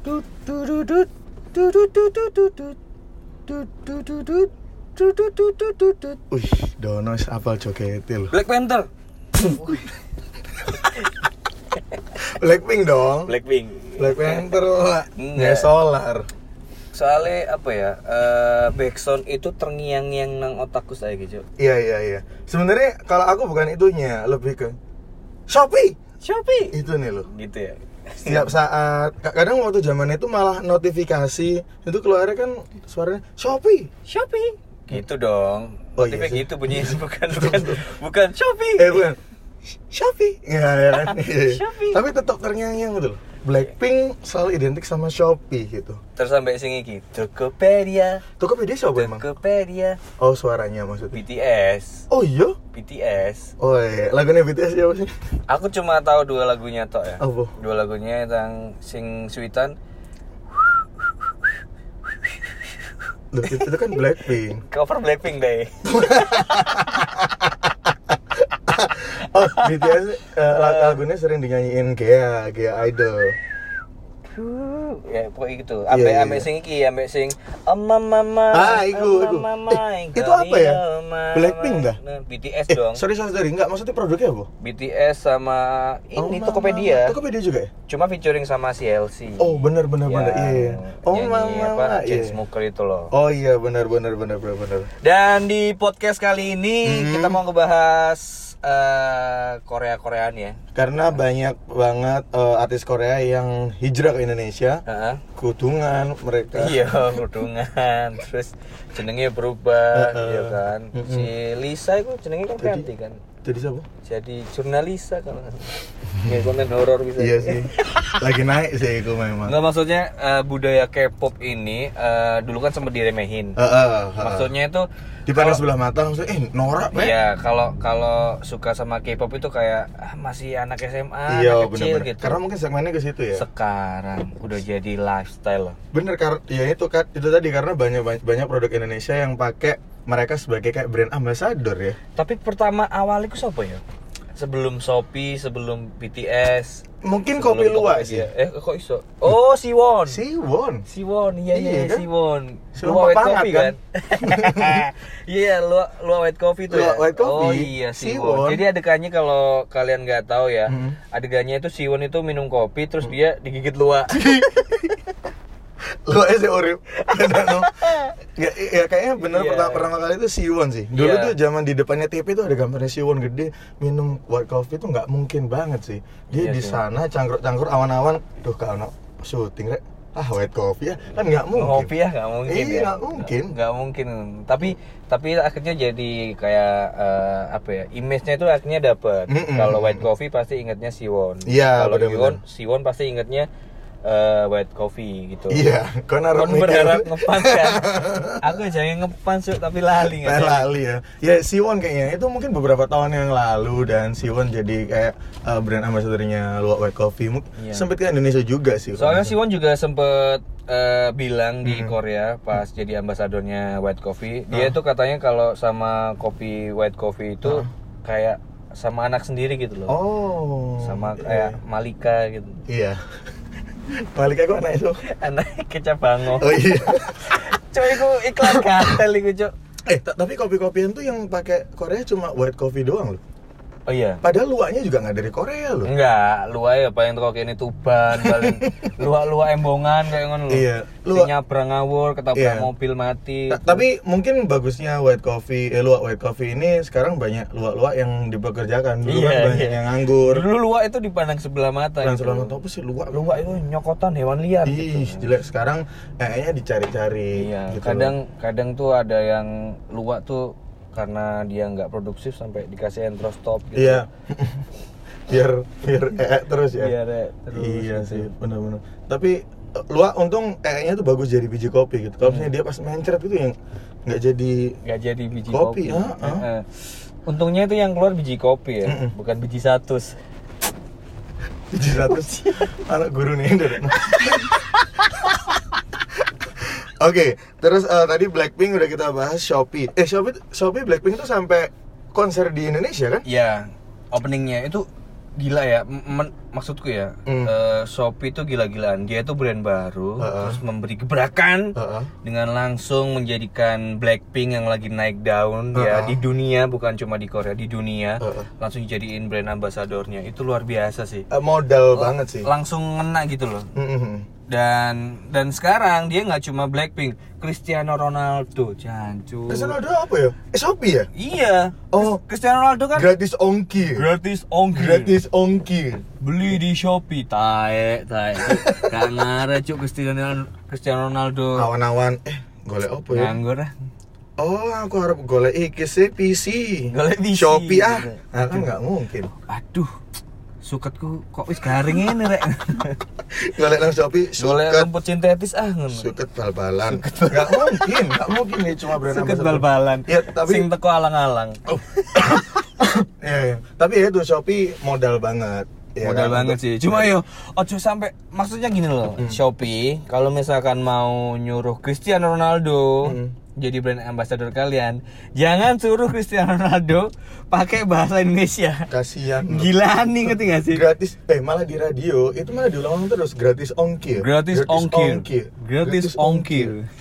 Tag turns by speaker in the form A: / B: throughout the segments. A: Tut, turudut, turututututut, tut, turudut, turututututut.
B: Wih, Dono is apal jogete lho.
C: Black Panther
B: Blackpink dong.
C: Blackpink
B: Black
C: Eh,
B: Panther lah.
C: Enggak.
B: Ya solar.
C: soalnya apa ya eh backsound itu terngiang-ngiang nang otakku saya gitu
B: Iya iya iya. Sebenarnya kalau aku bukan itunya, lebih ke Shopee.
C: Shopee
B: Itu nih loh.
C: gitu ya
B: Setiap saat ka- kadang waktu zamannya itu malah notifikasi itu keluarnya kan suaranya Shopee.
C: Shopee gitu dong
B: Oh,
C: Motifnya
B: iya sih.
C: gitu bunyinya bukan bukan bukan Shopee
B: Eh bukan. Sh- Shopee. Iya iya kan. Iya.
C: Shopee.
B: Tapi tetap terngiang-ngiang gitu loh. Blackpink selalu identik sama Shopee gitu.
C: terus sampai sini iki Tokopedia
B: Tokopedia siapa emang?
C: Tokopedia
B: Oh suaranya maksudnya.
C: BTS
B: Oh iya?
C: BTS
B: Oh iya, lagunya BTS siapa sih?
C: aku cuma tahu dua lagunya tok ya
B: Apa?
C: dua lagunya yang sing suitan
B: Loh, itu, itu kan Blackpink.
C: cover Blackpink deh
B: Oh, BTS eh, lag- lagunya sering dinyanyiin Gea, Gea Idol.
C: ya pokoknya gitu ambe
B: iya,
C: ambe
B: iya.
C: sing iki ambe sing ama mama
B: Ah, iku, iku.
C: mama
B: Eh, itu apa ya? Blackpink dah?
C: Nah, BTS
B: Eh,
C: dong
B: sorry, sorry, sorry. Enggak, maksudnya produknya apa?
C: BTS sama ini
B: Mama.
C: Tokopedia
B: Tokopedia juga ya?
C: cuma featuring sama CLC
B: Oh, benar benar
C: Yang
B: benar. Iya. iya. Oh,
C: Ya, nyanyi
B: mama.
C: apa
B: Iya.
C: Jane Smoker itu loh
B: Oh iya, benar benar benar benar benar.
C: dan di podcast kali ini
B: Hmm.
C: kita mau ngebahas Korea Koreaan ya
B: Karena banyak banget eh, artis Korea yang hijrah ke Indonesia.
C: Heeh.
B: Kudungan mereka.
C: iya kerudungan terus jenengnya berubah
B: Heeh.
C: ya kan si Lisa itu jenengnya kan ganti kan
B: Jadi siapa?
C: jadi jurnalisa kalau nggak salah. Nggak, konten horor bisa
B: Iya sih. Lagi naik sih itu memang.
C: nggak maksudnya eh, budaya K-pop ini eh, dulu kan sempat diremehin
B: Heeh. heeh.
C: maksudnya itu
B: dipandang eh. sebelah mata langsung eh norak Pak."
C: Iya, kalau kalau suka sama K-pop itu kayak ah, masih anak SMA,
B: iya
C: anak kecil
B: benar
C: gitu.
B: karena mungkin segmennya ke situ ya
C: Sekarang udah jadi lifestyle.
B: bener kar ya itu Kak. itu tadi karena banyak banyak, banyak produk Indonesia yang pakai mereka sebagai kayak brand ambassador ya
C: Tapi pertama awalnya ku siapa ya? Sebelum Shopee, sebelum BTS,
B: mungkin
C: sebelum
B: kopi ya. luwak sih
C: Tokopedia. Eh, kok iso? Oh, Siwon.
B: Siwon
C: Siwon, iya
B: Iya,
C: iya,
B: kan?
C: Siwon.
B: Siwon
C: Luwak white
B: Papangat,
C: coffee
B: kan?
C: kan? Iya, luwak luwak white coffee tuh
B: Luwak
C: ya.
B: white coffee,
C: Oh iya, Siwon.
B: Siwon.
C: Jadi adegannya kalau kalian nggak tahu ya,
B: Hmm.
C: adegannya itu Siwon itu minum kopi terus dia digigit luwak.
B: luwak sih Oreo ya, ya kayaknya bener
C: Iya.
B: pertama, pertama kali itu Siwon sih dulu
C: Iya.
B: tuh zaman di depannya TP tuh ada gambarnya Siwon gede minum white coffee tuh nggak mungkin banget sih
C: Iya
B: dia di
C: sih.
B: sana cangkruk-cangkruk awan-awan duh kalau syuting rek ah white coffee ya kan nggak mungkin
C: Ngopi ya nggak mungkin
B: Iya,
C: ya.
B: nggak mungkin.
C: Nggak mungkin. Tapi tapi akhirnya jadi kayak eh, apa ya? Image-nya itu akhirnya dapet.
B: Mm-mm.
C: Kalau white coffee pasti ingatnya Siwon.
B: Iya,
C: Kalau
B: benar-benar.
C: Siwon, Siwon pasti ingatnya eh, white coffee gitu.
B: Iya, kau naruh
C: Kon berharap ngepan kan? Aku jangan ngepan Suk, tapi lali nggak
B: Nah, lali ya. Ya Siwon kayaknya itu mungkin beberapa tahun yang lalu dan Siwon jadi kayak uh, brand ambassadornya Luwak White Coffee. Mungkin
C: Iya.
B: sempet ke Indonesia juga sih.
C: Soalnya
B: Kalau-
C: Siwon juga sempet eh, bilang di
B: Mm-hmm.
C: Korea pas jadi ambasadornya White Coffee, dia
B: Ah.
C: tuh katanya kalau sama kopi White Coffee itu kayak sama anak sendiri gitu loh.
B: Oh.
C: sama
B: iya.
C: kayak Malika gitu
B: Iya. Balik aku anak itu.
C: anak kecap bango
B: Oh iya.
C: cuy itu iklan gatel itu cuy
B: eh, ta- tapi kopi-kopian tuh yang pakai Korea cuma white coffee doang loh.
C: oh iya
B: Padahal luaknya juga nggak dari Korea loh.
C: enggak luar ya paling toko ini tuban paling luar luar embongan kayak ngono lho.
B: Iya,
C: luar
B: luwak-
C: nyabrang ngawur ketabrak
B: Iya.
C: mobil mati
B: Ta- tapi mungkin bagusnya white coffee, eh, luak white coffee ini sekarang banyak luak-luak yang dipekerjakan. Dulu
C: Iya,
B: kan banyak
C: iya.
B: yang nganggur.
C: dulu luar itu dipandang sebelah mata
B: Orang
C: gitu.
B: selalu nonton apa sih luak?
C: luar itu nyokotan hewan liar
B: Ih,
C: gitu.
B: jelek sekarang kayaknya dicari-cari.
C: iya
B: Iya, gitu loh.
C: kadang kadang tuh ada yang luar tuh karena dia nggak produktif sampai dikasih entrostop gitu
B: Iya. biar biar ee terus ya.
C: biar eh, terus
B: iya
C: gitu.
B: sih, benar-benar. Tapi eh, luak untung ee-nya tuh bagus jadi biji kopi
C: Iya.
B: gitu. Kalau misalnya dia pas mencret itu yang nggak jadi
C: nggak jadi biji
B: Kopi,
C: kopi.
B: ah, ah.
C: Eh, eh. Untungnya itu yang keluar biji kopi ya,
B: Mm-mm.
C: bukan biji satus.
B: biji satu anak guru nih dari- Oke, terus eh, tadi Blackpink udah kita bahas Shopee. Eh Shopee, Shopee Blackpink tuh sampai konser di Indonesia kan?
C: Iya, openingnya itu gila ya. M- men- maksudku ya
B: Hmm.
C: eh, Shopee itu gila-gilaan dia itu brand baru
B: Heeh.
C: terus memberi gebrakan
B: Heeh.
C: dengan langsung menjadikan Blackpink yang lagi naik daun ya
B: Heeh.
C: di dunia bukan cuma di Korea di dunia
B: Heeh.
C: langsung jadiin brand ambasadornya itu luar biasa sih
B: Eh,
C: Oh,
B: modal banget sih
C: langsung ngena gitu loh
B: Mm-mm.
C: dan dan sekarang dia nggak cuma Blackpink Cristiano Ronaldo jancu
B: Cristiano Ronaldo apa ya? Eh Shopee ya?
C: iya
B: Oh.
C: Chris- Cristiano Ronaldo kan
B: Gratis ongkir
C: gratis ongkir
B: Gratis ongkir
C: beli di Shopee tae tae gak ngare cuk Cristiano Cristiano Ronaldo
B: Awan-awan Eh golek apa ya?
C: nganggur ah
B: Oh aku harap golek iki sih PC
C: Golek PC.
B: Shopee ah Nah kan nggak mungkin
C: aduh suketku kok wis garing ini rek
B: Golek nang Shopee
C: golek
B: Suket
C: rumput sintetis ah ngono
B: Suket bal-balan Nggak mungkin Nggak mungkin nih cuma brand
C: suket
B: ambassador.
C: bal-balan
B: Iya tapi
C: sing teko alang-alang
B: Iya, iya. Tapi ya itu Shopee modal banget ya
C: modal
B: kan?
C: banget
B: Untuk-
C: sih cuma yo ojo sampai maksudnya gini loh
B: Hmm.
C: Shopee kalau misalkan mau nyuruh Cristiano Ronaldo
B: Hmm.
C: jadi brand ambassador kalian jangan suruh Cristiano Ronaldo pakai bahasa Indonesia
B: Kasihan loh.
C: gila nih ngerti gak sih
B: gratis eh malah di radio itu malah diulang terus gratis ongkir
C: Gratis ongkir. Gratis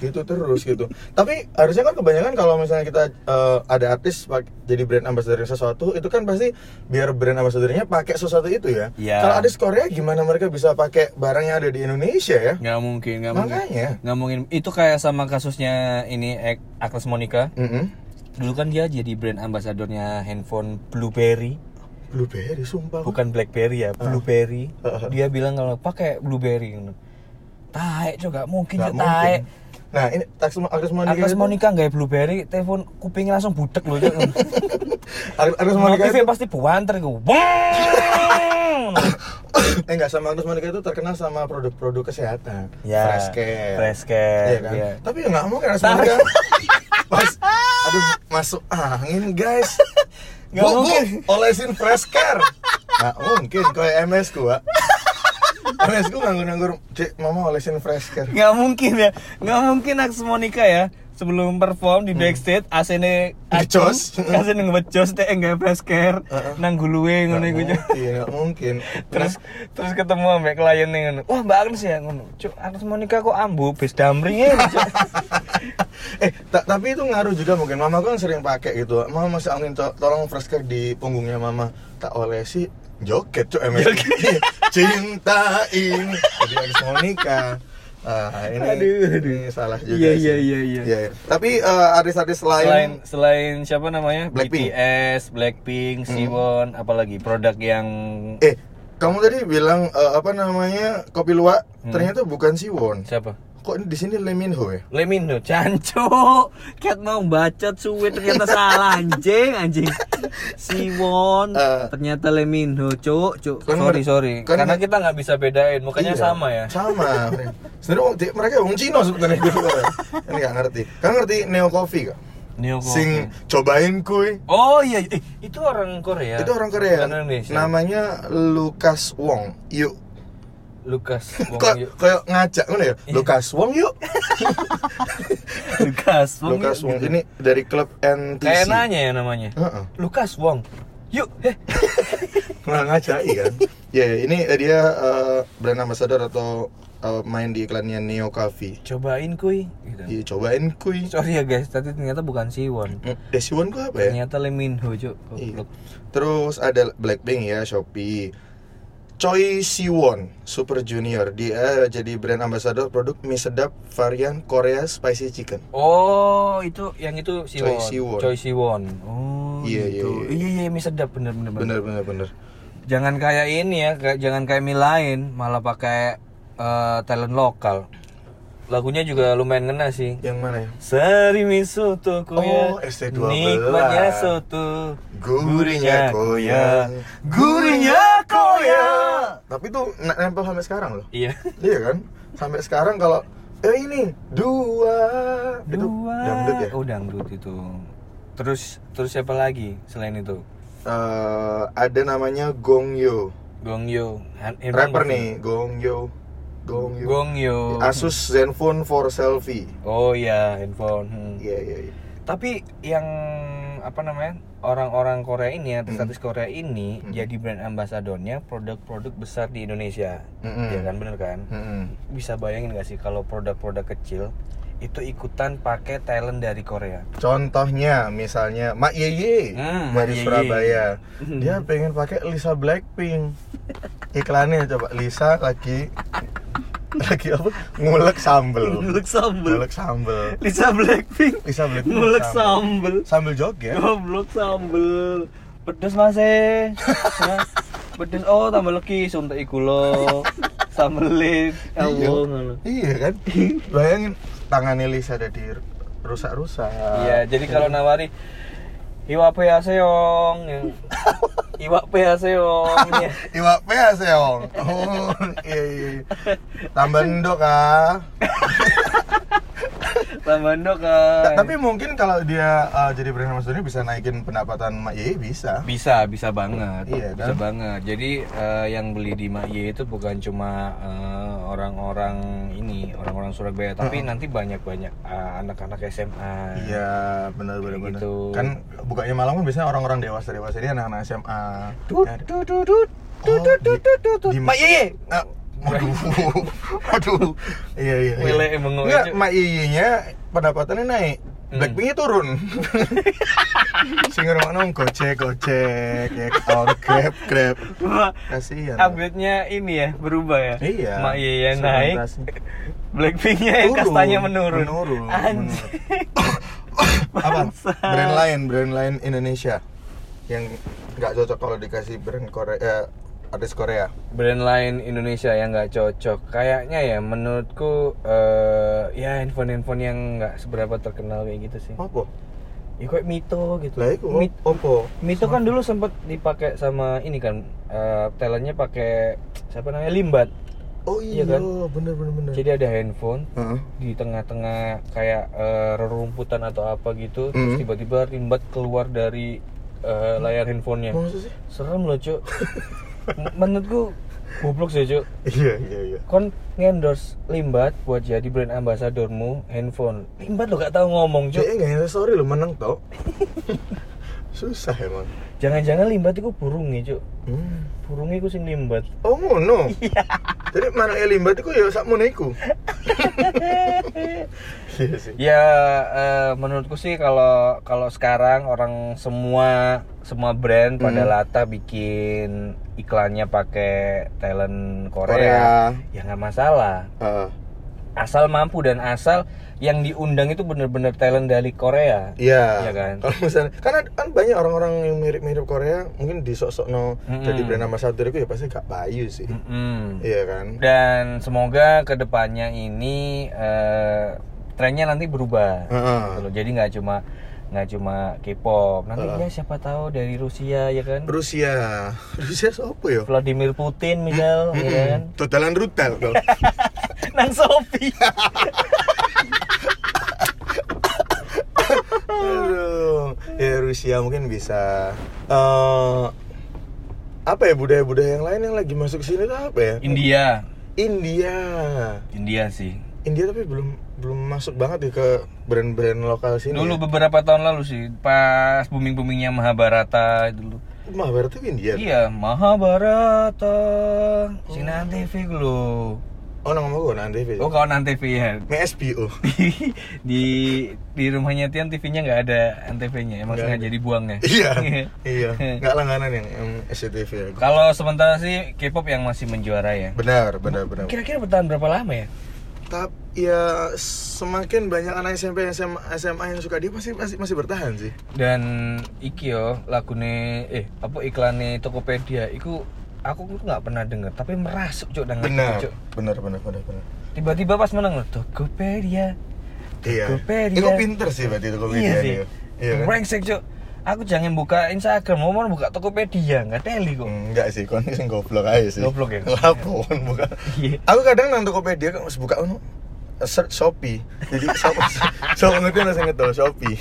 B: gitu terus gitu tapi harusnya kan kebanyakan kalau misalnya kita eh, ada artis pak- jadi brand ambassador sesuatu itu kan pasti biar brand ambassadornya pakai sesuatu itu ya
C: Iya.
B: kalau artis Korea gimana mereka bisa pakai barang yang ada di Indonesia ya
C: nggak mungkin nggak mungkin
B: makanya
C: nggak mungkin itu kayak sama kasusnya ini Ek- Agnes Monica
B: Mm-mm.
C: dulu kan dia jadi brand ambasadornya handphone BlueBerry
B: blueberry sumpah
C: bukan BlackBerry ya BlueBerry
B: Ah.
C: dia bilang kalau pakai BlueBerry taek juga mungkin
B: Nggak
C: cok, taek
B: nah ini taksi artis Monica
C: Agnes
B: itu-
C: Iya, Monica nggak BlueBerry telepon kupingnya langsung budek loh cok.
B: Ar- Agnes Monica
C: notifnya
B: itu-
C: pasti buanter gue Wong!
B: eh nggak sama Agnes Monica itu terkenal sama produk-produk kesehatan
C: ya
B: fresh care
C: fresh
B: Iya
C: care
B: kan?
C: iya.
B: Tapi ya nggak mau kan Agnes Monica Mas, aduh masuk angin guys
C: Nggak
B: Bu, Bu,
C: mungkin.
B: olesin fresh care Nggak mungkin, kayak MS ku Wak. MS ku nganggur-nganggur Cek, mama olesin fresh care
C: nggak mungkin ya nggak mungkin Agnes Monica ya sebelum perform di backstage asene
B: Ngecos.
C: asene Hmm. ngecos teh nggak fresh care
B: Heeh.
C: nang guluwe
B: Nggak
C: ngono iku Cok.
B: mungkin, nggak mungkin
C: terus terus ketemu sama klien nih ngono. Wah, Mbak Agnes ya ngono. Cuk, Agnes Monika kok ambu bis damring ya. Cuk.
B: Eh, ta- tapi itu ngaruh juga mungkin Mama kan sering pakai gitu Mama masih angin, to- tolong fresh care di punggungnya mama Tak olesi, joket cuy MS Iya, Cintain Jadi Agnes Monica Ah, ini,
C: Aduh,
B: ini salah juga
C: Iya,
B: sih.
C: iya, iya, iya.
B: Iya, iya. Tapi eh, artis-artis
C: Selain
B: lain,
C: selain siapa namanya?
B: Blackpink. Hmm.
C: BTS, Blackpink, Siwon, apalagi produk yang
B: eh kamu tadi bilang eh, apa namanya kopi luwak ternyata bukan Siwon.
C: siapa?
B: Kok ini di sini Leminho ya?
C: Lemino, canco, cat mau bacot suwe ternyata salah anjing, anjing. Siwon,
B: Eh.
C: ternyata Lemino, cuk, cuk.
B: Kan
C: Sorry,
B: mer-
C: sorry.
B: kan-
C: Karena kita nggak bisa bedain, mukanya
B: Iya,
C: sama ya.
B: Sama. Sebenarnya wong- di- mereka wong Cina sebenarnya gitu. Ini nggak ngerti. Kan ngerti Neo Coffee kak?
C: Neo Coffee.
B: Sing cobain kui.
C: Oh iya, eh, itu orang Korea.
B: Itu orang Korea.
C: Ya. Bukan Indonesia.
B: Namanya Lukas Wong. Yuk.
C: Lukas Wong Iya.
B: Kok
C: Yu-
B: kayak ngajak ngono ya? Lukas Wong yuk.
C: Lukas Wong
B: Lukas
C: Yu-
B: Wong ini dari klub NTC.
C: gitu. kayak nanya ya namanya
B: Heeh.
C: Lukas Wong yuk heh
B: Kurang aja iya kan. Ya, ini dia eh, brand ambassador atau eh, main di iklannya Neo Coffee.
C: cobain kuy gitu.
B: Iya, cobain kuy.
C: sorry ya guys tadi ternyata bukan Siwon
B: Hmm, Desiwon gua apa ya?
C: ternyata Lee Min Ho cuk
B: Iya.
C: goblok
B: Terus ada Blackpink ya, Shopee. Choi Siwon, Super Junior. Dia eh, jadi brand ambassador produk mie sedap varian Korea Spicy Chicken.
C: oh itu yang itu Siwon
B: Choi Siwon.
C: Choi Siwon oh
B: Iya, iya,
C: gitu.
B: iya.
C: iya iya mie sedap bener bener bener.
B: Bener bener bener.
C: jangan kayak ini ya kayak jangan kayak mie lain malah pakai eh, talent lokal lagunya juga lumayan ngena sih
B: Yang mana ya?
C: Serimi soto koya
B: Oh, ST12.
C: Nikmatnya soto
B: Gurihnya koya.
C: Gurihnya koya
B: Tapi tuh n- nempel sampai sekarang loh.
C: Iya
B: Iya kan? Sampai sekarang kalau eh ini dua, itu
C: Dua
B: dangdut ya.
C: Oh dangdut itu Terus terus siapa lagi selain itu?
B: Eh, ada namanya Gongyo.
C: Gongyo Han- emang
B: Rapper
C: pasti.
B: nih, Gongyo. Gongyo.
C: Gongyo
B: Asus Zenfone for selfie.
C: Oh iya handphone Hmm.
B: Iya iya. iya.
C: Tapi yang apa namanya orang-orang Korea ini artis-artis
B: Hmm.
C: Korea ini jadi brand ambasadornya produk-produk besar di Indonesia,
B: Mm-mm.
C: ya kan bener kan?
B: Mm-mm.
C: Bisa bayangin gak sih kalau produk-produk kecil itu ikutan pakai talent dari Korea?
B: Contohnya misalnya Mak Yeye
C: Hmm, Mak
B: dari
C: Yeye.
B: Surabaya. Dia pengen pakai Lisa Blackpink. Iklannya coba Lisa lagi lagi apa? Ngulek sambel.
C: Ngulek sambel.
B: Ngulek sambel.
C: Lisa Blackpink.
B: Lisa Blackpink
C: Ngulek sambel.
B: Iya, Sambel Iya. joget.
C: Goblok sambel. Pedes mas eh. Mas, Pedes oh tambah leki suntik iku lo. Sambelin.
B: Iya.
C: Elwo ngono.
B: Iya kan? Bayangin tangannya Lisa ada di rusak-rusak.
C: Iya, jadi kalau nawari Iwa pe aseong. yang- Iwa pe aseong. ya.
B: Iwa pe ya, Seong. Oh, iya iya. Tambah endok ah.
C: Tambah ndok
B: Ta-
C: kan.
B: Tapi mungkin kalau dia uh, jadi brand ambassador bisa naikin pendapatan Mak Yeye bisa.
C: bisa bisa banget
B: Iya,
C: bisa
B: kan?
C: banget jadi eh, yang beli di Makye itu bukan cuma eh, orang-orang ini orang-orang Surabaya tapi nanti banyak banyak anak-anak SMA
B: Iya, benar benar benar.
C: Nah. Gitu.
B: Kan bukanya malam kan biasanya orang-orang dewasa dewasa ini anak-anak SMA. Nah, Oh, di-
C: Mak Yeye
B: Ah, waduh, waduh, iya iya. iya.
C: Wele emang
B: Nggak,
C: ngocok.
B: Mak Yeye-nya pendapatannya naik,
C: Hmm.
B: Blackpink-nya turun. Sing nong gocek gocek, ya, oh, grab grab. Kasihan.
C: update-nya ini ya berubah ya
B: Iya.
C: Mak Yeye naik
B: segmentasi.
C: Blackpink-nya yang
B: Turun,
C: kastanya menurun
B: menurun,
C: anjir
B: apa
C: Bangsat.
B: brand lain brand lain Indonesia yang nggak cocok kalau dikasih brand Korea eh, artis Korea
C: brand lain Indonesia yang nggak cocok kayaknya ya menurutku eh ya handphone-handphone yang nggak seberapa terkenal kayak gitu sih
B: Oppo
C: ya kayak Mito gitu
B: lah itu
C: Mi-
B: Oppo
C: Mito kan dulu sempet dipakai sama ini kan eh, talentnya pakai siapa namanya Limbat
B: oh
C: Iya
B: iya,
C: kan?
B: bener bener bener
C: jadi ada handphone
B: Heeh.
C: di tengah-tengah kayak eh, rerumputan atau apa gitu terus
B: Mhm.
C: tiba-tiba Limbat keluar dari eh, layar handphonenya
B: maksud sih
C: serem loh cuk M- menurutku goblok sih cuk
B: iya iya iya
C: kon ngendorse Limbat buat jadi brand ambasadormu handphone Limbat lo gak tahu ngomong
B: dia
C: cuk
B: eh, nggak ada story lo menang tau susah emang
C: jangan-jangan Limbat itu burung nih cuk
B: hmm.
C: burungnya ku sing Limbat
B: oh ngono
C: Iya.
B: jadi mana Elimbat itu ya sak iku iya sih
C: Ya eh, menurutku sih kalau kalau sekarang orang semua semua brand pada
B: Hmm.
C: lata bikin iklannya pakai talent Korea,
B: Korea
C: ya nggak masalah.
B: Heeh.
C: Asal mampu dan asal yang diundang itu bener-bener talent dari Korea.
B: Iya.
C: Iya kan?
B: Kalau misalnya karena kan banyak orang-orang yang mirip-mirip Korea, mungkin di sok no
C: Mm-mm.
B: jadi brand ambassador itu ya pasti gak payu sih.
C: Mm-mm.
B: Iya kan?
C: Dan semoga kedepannya ini eh, trennya nanti berubah.
B: Heeh.
C: Gitu loh. Jadi nggak cuma nggak cuma K-pop. Nanti ya siapa tahu dari Rusia ya kan.
B: Rusia. Rusia siapa ya?
C: Vladimir Putin misal ya kan
B: Mm-mm. Totalan rutel kalau.
C: nang Sophie
B: Aduh. Ya Rusia mungkin bisa eh apa ya budaya-budaya yang lain yang lagi masuk sini tuh apa ya?
C: India
B: India.
C: India sih
B: India tapi belum belum masuk banget ya ke brand-brand lokal sini.
C: dulu beberapa tahun lalu sih pas booming boomingnya Mahabharata dulu
B: ya. Mah berarti India.
C: iya Mahabharata Sinan TV lo
B: Oh, nang ngomong gue nanti. Fit.
C: oh kawan Antv ya
B: Mie SBO.
C: di di, di rumahnya Tian TV-nya nggak ada Antv-nya emang
B: Nggak
C: sengaja ya? dibuangnya
B: iya. iya. Enggak langganan yang, yang SCTV ya.
C: kalau sementara sih K-pop yang masih menjuara ya
B: Benar, benar, benar.
C: kira-kira bertahan berapa lama ya
B: Tapi ya semakin banyak anak SMP SMA, SMA yang suka dia pasti masih masih bertahan sih.
C: dan iki yo lagune eh apa iklannya Tokopedia iku aku tuh nggak pernah denger tapi merasuk cuk dengan
B: Benar. Benar, benar, benar, benar.
C: tiba-tiba pas menang loh Tokopedia
B: Iya.
C: Tokopedia.
B: Itu pinter sih berarti Tokopedia
C: ya. iya sih
B: dia. Iya kan?
C: brengsek cuk aku jangan buka Instagram mau mau buka Tokopedia nggak teli kok
B: Enggak sih, kon sing goblok aja sih.
C: Goblok ya?
B: Lapo kon buka.
C: Iya.
B: Aku kadang nang Tokopedia kan harus buka ono search Shopee. Jadi Shopee Shopee ngerti langsung ngetol Shopee.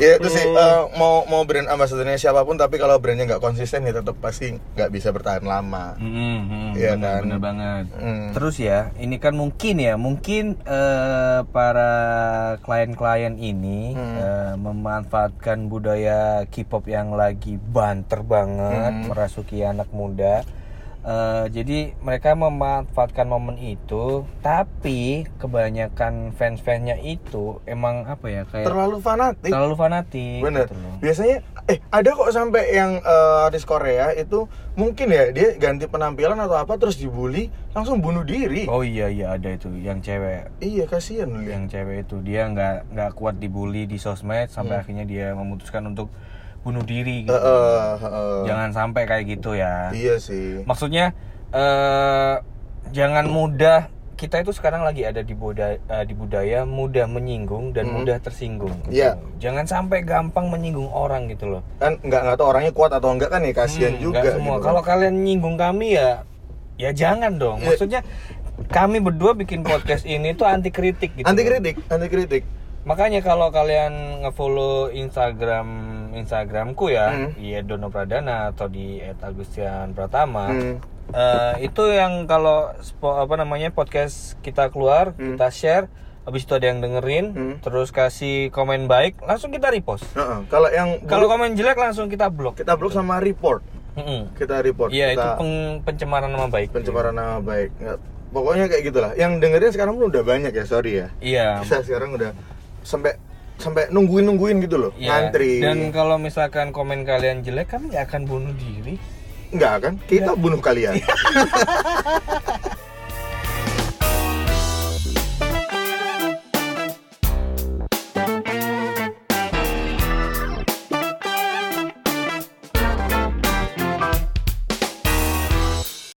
B: ya itu sih eh, mau mau brand ambassadornya siapapun tapi kalau brandnya nggak konsisten ya tetap pasti nggak bisa bertahan lama Iya
C: Hmm, bener,
B: kan?
C: bener banget.
B: Hmm.
C: Terus ya, ini kan mungkin ya, mungkin eh, para klien-klien ini
B: Hmm.
C: eh, memanfaatkan budaya K-pop yang lagi banter banget
B: Hmm.
C: merasuki anak muda. Eh, jadi mereka memanfaatkan momen itu, tapi kebanyakan fans-fansnya itu emang apa ya kayak
B: terlalu fanatik
C: terlalu fanatik.
B: Bener.
C: gitu loh.
B: Biasanya eh ada kok sampai yang eh, artis Korea itu mungkin ya dia ganti penampilan atau apa terus dibully langsung bunuh diri.
C: Oh iya iya ada itu yang cewek
B: Iya kasihan lu
C: yang
B: lihat.
C: cewek itu dia nggak nggak kuat dibully di sosmed sampai
B: Hmm.
C: akhirnya dia memutuskan untuk bunuh diri gitu. Ya.
B: Eh, eh, eh, eh.
C: jangan sampai kayak gitu ya
B: Iya sih.
C: maksudnya eh jangan mudah kita itu sekarang lagi ada di budaya, di budaya mudah menyinggung dan mudah tersinggung
B: Hmm.
C: gitu.
B: Iya.
C: jangan sampai gampang menyinggung orang gitu loh
B: Kan nggak nggak tahu orangnya kuat atau enggak kan ya kasihan
C: Hmm,
B: juga.
C: nggak semua.
B: gitu kan.
C: Kalau kalian nyinggung kami ya, ya jangan dong.
B: Iya.
C: Maksudnya kami berdua bikin podcast ini tuh anti kritik gitu.
B: anti kritik, anti kritik.
C: Makanya kalau kalian ngefollow Instagram Instagramku ya,
B: Hmm.
C: iya Dono Pradana atau di @agustian Pratama.
B: Hmm.
C: eh, itu yang kalau spo- apa namanya podcast kita keluar, kita share, habis itu ada yang dengerin,
B: Hmm.
C: terus kasih komen baik, langsung kita repost.
B: Heeh. Kalau yang
C: Kalau
B: buruk,
C: komen jelek langsung kita blok.
B: kita blok sama report,
C: Mm-mm.
B: kita report.
C: Iya itu
B: kita
C: peng- pencemaran nama baik.
B: pencemaran nama baik. Nggak, pokoknya kayak gitulah. Yang dengerin sekarang pun udah banyak ya, sorry ya.
C: Iya.
B: Bisa sekarang udah sampai sampai nungguin nungguin gitu loh,
C: Iya.
B: ngantri.
C: Dan kalau misalkan komen kalian jelek, kami nggak akan bunuh diri.
B: Enggak kan? Kita bunuh kalian.